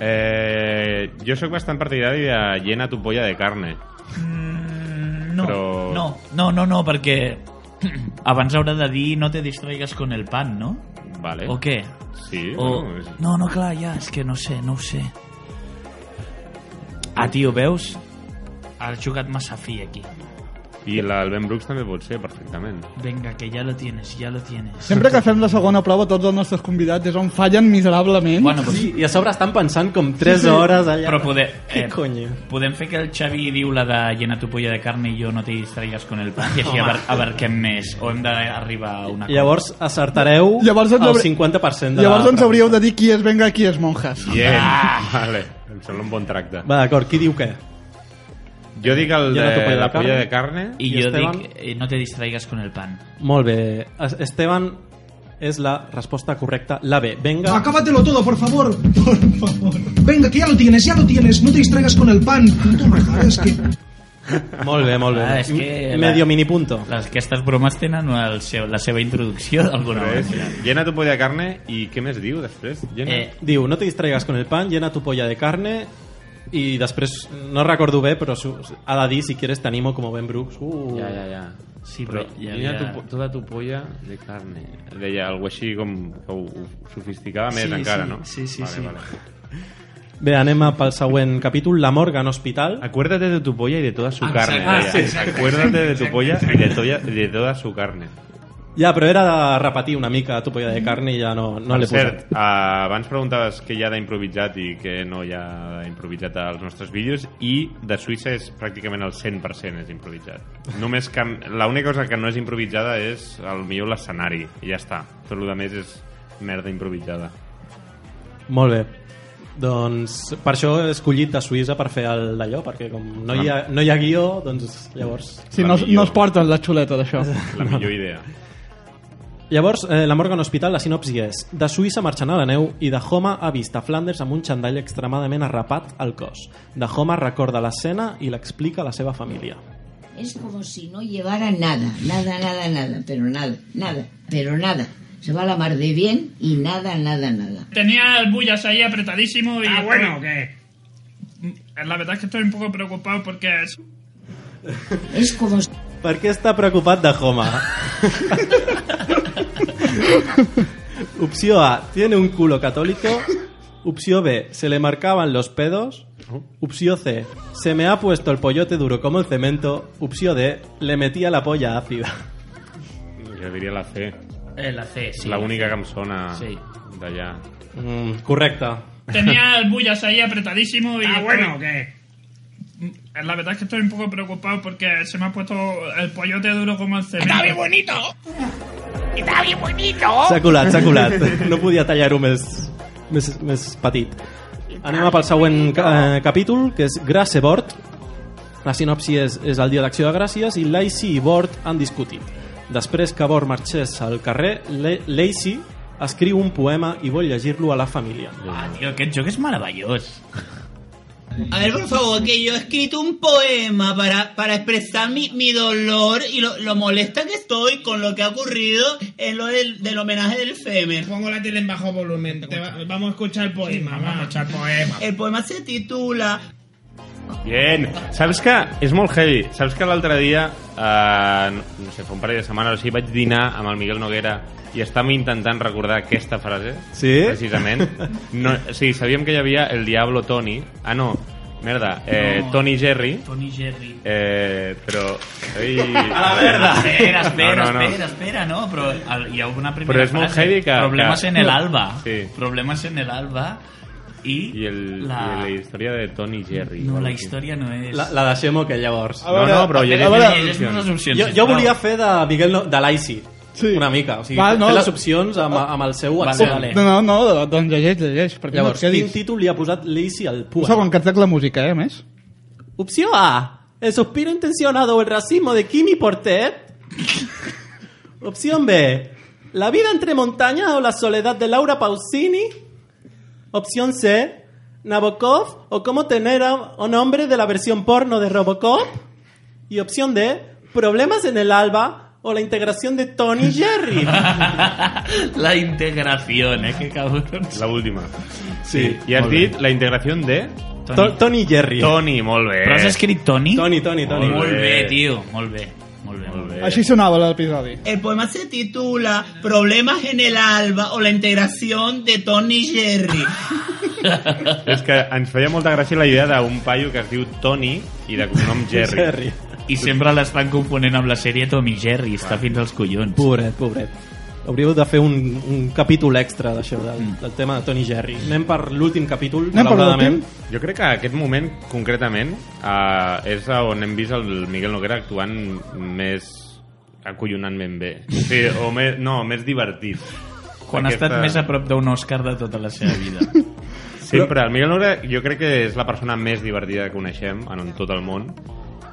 Eh, jo sóc bastant partidari de llena tu polla de carne. No, Però- no, no, no, no, perquè abans haurà de dir no te distraigas con el pan, no? Vale. O què? ¿Eh? Sí, O... bueno, és- No, no, clar, ja, és que no sé, no ho sé. Ah, tio, veus? Has jugat massa fi aquí. I la- el Ben Brooks també pot ser, perfectament. Venga, que ja lo tienes, ja lo tienes. Sempre que fem la segona prova, tots els nostres convidats és on fallen miserablement. Bueno, pues, Sí, i a sobre estan pensant com 3 hores allà. però poder, eh, Què conyo? podem fer que el Xavi diu la de llena tu polla de carne i jo no te distraigas con el pan i així abar abarquem més o hem d'arribar a una cosa. Llavors acertareu Llavors ens el hauré- 50% de Llavors la... ens hauríeu de dir qui és venga i qui és Ah. monjas. Bien. Vale. Em sembla un bon tracte. Va, d'acord, qui diu què? Jo dic el Llena de tu polla de la carne. polla de carne. I, I jo Esteban? dic eh, no te distraigas con el pan. Molt bé. Es- Esteban és la resposta correcta, la B. Venga, Ah, Acábatelo todo, por favor. Por favor. Venga, que ya lo tienes, ya lo tienes. No te distraigas con el pan. Puto majada, es que... molt bé, molt bé. Ah, és que M- la- Medio mini punto. Les, aquestes bromes tenen el seu, la seva introducció d'alguna Res. manera. Llena tu polla de carne i què més diu després? Llena... Eh, Diu, no te distraigas con el pan, llena tu polla de carne i després, no recordo bé, però su- ha de dir, si quieres t'animo com Ben Brooks. Uh. Ja, ja, ja. Sí, però però hi llena havia- tu, po- tota tu polla de carne. Deia alguna així com que ho, ho sofisticava més Sí, encara, sí. no? Sí, sí, vale, sí. Vale. Bé, anem a pel següent capítol, La morga en hospital. Acuérdate de tu polla y de toda su Exacte. carne. Ah, sí, deia. Acuérdate de tu polla y de, toya- de toda su carne. Ja, però era de repetir una mica tu polla de carne i ja no, no l'he per cert, posat. uh, abans preguntaves què hi ha d'improvisat i què no hi ha d'improvisat als nostres vídeos i de Suïssa és pràcticament el 100% és improvisat. Només que l'única cosa que no és improvisada és el millor l'escenari i ja està. Tot el que més és merda improvisada. Molt bé. Doncs per això he escollit de Suïssa per fer el d'allò, perquè com no hi ha, no hi ha guió, doncs llavors... Si no, La millor. no es porten la xuleta d'això. La millor idea. Llavors, eh, la Morgan Hospital, la sinopsi és De Suïssa marxant a la neu i Dahoma ha vist a Flanders amb un xandall extremadament arrapat al cos. Dahoma recorda l'escena i l'explica a la seva família. Es como si no llevara nada, nada, nada, nada, pero nada, nada, pero nada. Se va a la mar de bien y nada, nada, nada. Tenía el bullas ahí apretadísimo y... Ah, bueno, ¿qué? La verdad es que estoy un poco preocupado porque es... Es como si... Per què està preocupat Dahoma? Opció A, tiene un culo católico. Opció B, se le marcaban los pedos. Opció C, se me ha puesto el pollote duro como el cemento. Opció D, le metía la polla ácida. Jo diria la C. Eh, la C, sí. la la única C. que em sona Sí. d'allà. Mm, correcte. Tenía el bullas ahí apretadísimo y... Ah, bueno, ¿qué? La verdad es que estoy un poco preocupado porque se me ha puesto el pollote duro como el cemento. Está bien bonito. Está bien bonito. S'ha colat, s'ha colat. No podia tallar-ho més, més, més petit. Anem a pel següent eh, capítol, que és Grasse Bord. La sinopsi és, és el dia d'acció de gràcies i Lacey i Bord han discutit. Després que Bord marxés al carrer, Le- Lacey escriu un poema i vol llegir-lo a la família. Ah, tio, aquest joc és meravellós. A ver, por favor, que yo he escrito un poema para, para expresar mi, mi dolor y lo, lo molesta que estoy con lo que ha ocurrido en lo del, del homenaje del Femer. Pongo la tele en bajo volumen. vamos a escuchar el poema. vamos a escuchar el poema. El poema se titula Bien. Saps que és molt heavy. Saps que l'altre dia, eh, no, no sé, fa un parell de setmanes o així, vaig dinar amb el Miguel Noguera i estàvem intentant recordar aquesta frase. Sí? Precisament. No, o sigui, sabíem que hi havia el Diablo Tony. Ah, no. Merda. Eh, No. Tony Jerry. Tony Jerry. Eh, però... Ei. A la merda! Ah, Espera, espera, No, no, no. espera, espera, no, però el, hi ha una primera Però és molt frase. heavy que- Problemes que- en el alba. Sí. Problemes en el alba i... I, el, La- la... i la història de Tony Jerry. No, la història no és... La, la deixem que llavors. A veure, No, no, però llegeix a veure- les opcions. les opcions. Jo, jo sisplau. volia fer de Miguel no, de l'Aisi. Sí. Una mica. O sigui, Val, no. fer les opcions amb, amb el seu Vale, accent. vale. No, no, no, doncs llegeix, llegeix. Perquè Llavors, no et quin quedis. títol li ha posat Lacey al Un poema? segon, que et trec la música, eh, a més. Opció A. El suspiro intencionado o el racismo de Kimi Portet. Opción B. La vida entre montañas o la soledad de Laura Pausini. Opción C. Nabokov o cómo tener a un hombre de la versión porno de Robocop. Y opción D. Problemas en el alba o la integración de Tony y Jerry. La integració, eh, que cabrons. La última. Sí, I has molt dit la integració de... Tony. Tony Jerry. Tony, molt bé. Però has escrit Tony? Tony, Tony, Tony. Molt bé, tio, molt bé. Molt bé, molt bé. Així sonava l'episodi. El poema se titula Problemas en el alba o la integración de Tony Jerry. És que ens feia molta gràcia la idea d'un paio que es diu Tony i de cognom Jerry. Jerry. I sempre l'estan component amb la sèrie Tommy Jerry, està fins als collons. Pobret, pobret. Hauríeu de fer un, un capítol extra d'això, del, Mm. del tema de Tony Jerry. Anem per l'últim capítol, malauradament. Jo crec que aquest moment, concretament, eh, és on hem vist el Miguel Noguera actuant més acollonantment bé. Sí, o més, no, més divertit. Quan ha estat més a prop d'un Oscar de tota la seva vida. Sempre. El Miguel Noguera jo crec que és la persona més divertida que coneixem en tot el món.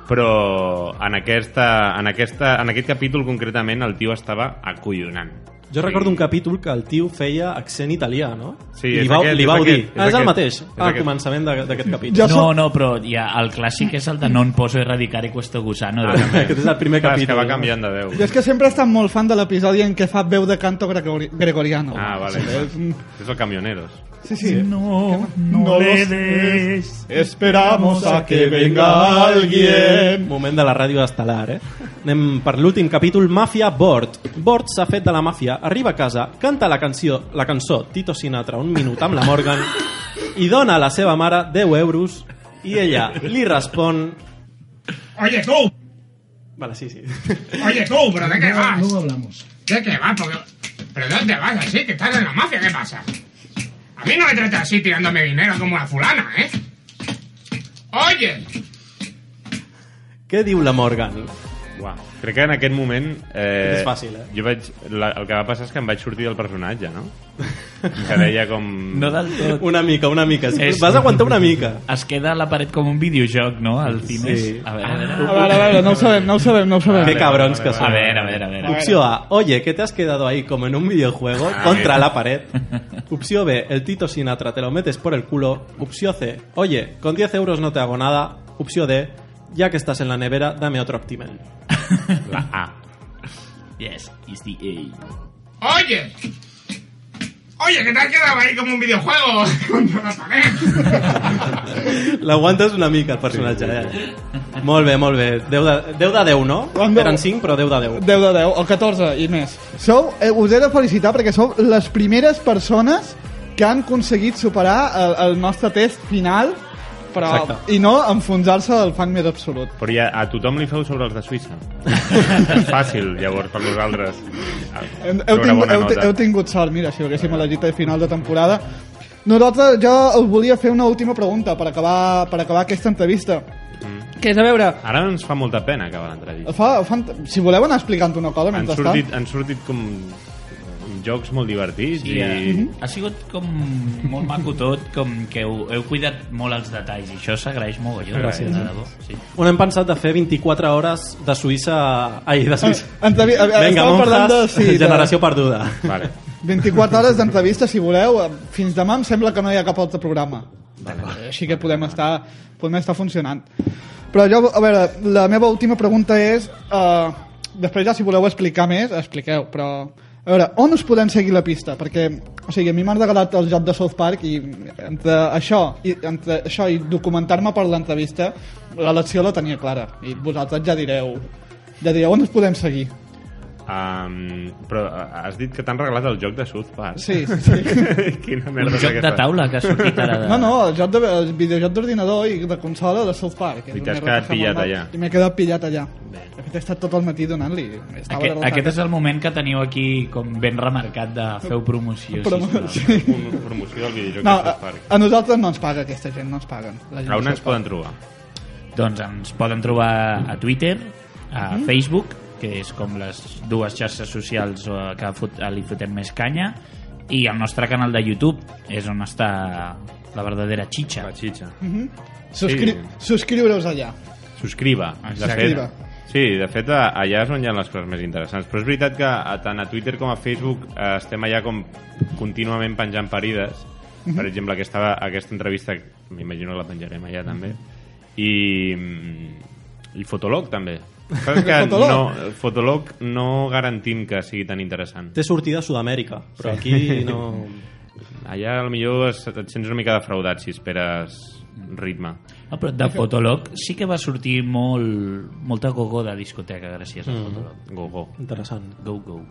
Però en, aquesta, en, aquesta, en aquest capítol, concretament, el tio estava acollonant. Jo recordo un capítol que el tio feia accent italià, no? Sí, I és li vau, aquest, li és vau aquest, dir. Ah, és és, el aquest, mateix, és al aquest. començament de- d'aquest capítol. Ja no, no, però ja, el clàssic és el de Non poso erradicare questo gusano. eh? Ah, aquest és el primer Clar, és que capítol, eh? va no? canviant de veu. Jo és que sempre he estat molt fan de l'episodi en què fa veu de canto gregori- gregoriano. Ah, vale. Sí, És el Camioneros. Sí, sí. No, no le des. Esperamos a que venga alguien. Moment de la ràdio estel·lar, eh? Anem per l'últim capítol, Màfia Bord. Bord s'ha fet de la màfia, arriba a casa, canta la canció, la cançó Tito Sinatra un minut amb la Morgan i dona a la seva mare 10 euros i ella li respon... Oye, tú. Vale, sí, sí. Oye, tú, ¿pero de qué No, vas? no hablamos. ¿De qué vas? Porque- ¿Pero dónde vas así? Que estás en la mafia, ¿qué pasa? A mí no me tratas así tirándome dinero como la fulana, ¿eh? Oye, Què diu la Morgan? Uah. Crec que en aquest moment... Aquest Eh, és fàcil, eh? Jo vaig, la, el que va passar és que em vaig sortir del personatge, no? Que deia com... No del tot. Una mica, una mica. Sí, vas aguantar una mica. Es queda a la paret com un videojoc, no? Al cine. Sí. A A veure, veure, a veure, no ho sabem, no ho sabem, no ho sabem. Qué cabrons Ah. que son. A ver, a ver, a ver. a ver. Opció A. Oye, que te has quedado ahí como en un videojuego Ah, contra mira. la pared. Opción B. El Tito Sinatra te lo metes por el culo. Opción C. Oye, con 10 euros no te hago nada. Opción D. Ya que estás en la nevera, dame otro Optimal. La A. Yes, it's the A. Oye. Oye, que te has quedado ahí como un videojuego contra la pared. L'aguantes una mica, el personatge. eh? Molt bé, molt bé. 10 de, 10 de 10, no? Eren 5, però 10 de 10. 10 de 10, o 14 i més. Sou, eh, us he de felicitar perquè sou les primeres persones que han aconseguit superar el, el nostre test final però, Exacte. i no enfonsar-se del fang més absolut. Però ja a tothom li feu sobre els de Suïssa. és fàcil, llavors, per vosaltres. Ah, Heu, heu, tingut, heu, heu tingut sort, mira, si ho haguéssim elegit a final de temporada. Nosaltres, jo us volia fer una última pregunta per acabar, per acabar aquesta entrevista. Què és a veure? Ara ens fa molta pena acabar l'entrevista. Fa, fan, si voleu anar explicant una cosa Han mentrestant. sortit, han sortit com jocs molt divertits i... Sí, eh? Mhm. ha sigut com molt maco tot, com que heu, heu cuidat molt els detalls i això s'agraeix molt, jo. Gràcies. De debò, sí. On hem pensat de fer 24 hores de Suïssa... Ai, de Suïssa. Ah, entrevi- a- a- Vinga, estàvem parlant de- monjas, sí, de- generació perduda. Vale. 24 hores d'entrevista, si voleu. Fins demà em sembla que no hi ha cap altre programa. Així que podem estar, podem estar funcionant. Però jo, a veure, la meva última pregunta és... eh, després ja, si voleu explicar més, expliqueu, però... A veure, on us podem seguir la pista? Perquè, o sigui, a mi m'ha agradat el joc de South Park i entre això i, entre això i documentar-me per l'entrevista, l'elecció la tenia clara. I vosaltres ja direu, ja direu on us podem seguir. Um, però eh, has dit que t'han regalat el joc de South Park. Sí, sí. Quina Un merda és joc de aquesta? taula que ha sortit ara de- No, no, el, joc de, el videojoc d'ordinador i de consola de South Park. I És t'has una quedat rata pillat molt allà. mal. I m'he quedat pillat allà. De fet, he estat tot el matí donant-li. Estava Aquest, derrotant. aquest és el moment que teniu aquí com ben remarcat de feu promoció. Promo- sisplau. Promoció del videojoc No, eh, a, a nosaltres no ens paga aquesta gent, no ens paguen. La gent de South Park. trobar? Doncs ens poden trobar a Twitter, a Mhm. Facebook, que és com les dues xarxes socials eh, que fot, li fotem més canya, i el nostre canal de YouTube és on està la verdadera xitxa. La xitxa. Mhm. Subscri Subscriure-us allà. Subscriba. De fet, Subscriba. sí, de fet, a- allà és on hi ha les coses més interessants. Però és veritat que a- tant a Twitter com a Facebook eh, estem allà com contínuament penjant parides. Per Mhm. exemple, aquesta, aquesta entrevista, m'imagino que la penjarem allà també. I, mm, i Fotolog també. Saps que Fotolog. no, Fotolog no garantim que sigui tan interessant. Té sortida a Sud-amèrica, però aquí no... Allà millor es- et sents una mica defraudat si esperes ritme. Ah, però de Fotolog sí que va sortir molt, molta gogó de discoteca gràcies a Mhm. Fotolog. Gogó. Interessant. Go-go.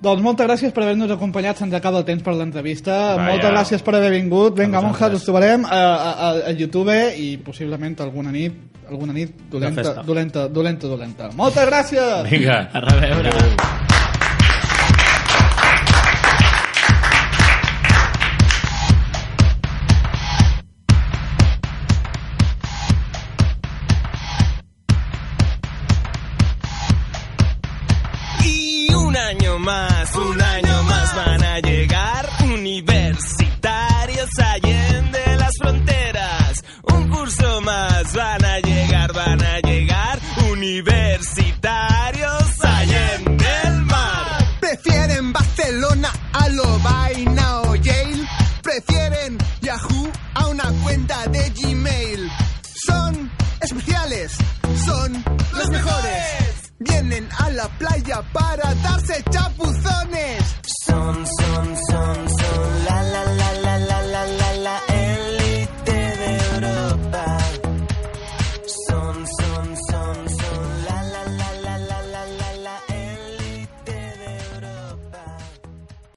Doncs moltes gràcies per haver-nos acompanyat, se'ns acaba el temps per l'entrevista. Vaja. Moltes gràcies per haver vingut. Vinga, monjas, us trobarem a, a, a, a YouTube i possiblement alguna nit, alguna nit dolenta, festa. dolenta, dolenta, dolenta. Moltes gràcies! Vinga. A reveure. Y un año más, un año más van a llegar universitarios allende las fronteras. Un curso más van a llegar, van a llegar universitarios allende el mar. Prefieren Barcelona a lo vaina o Yale. Prefieren Yahoo a una cuenta de Gmail. Son especiales, son los mejores. Vienen a la playa para darse chapuzones.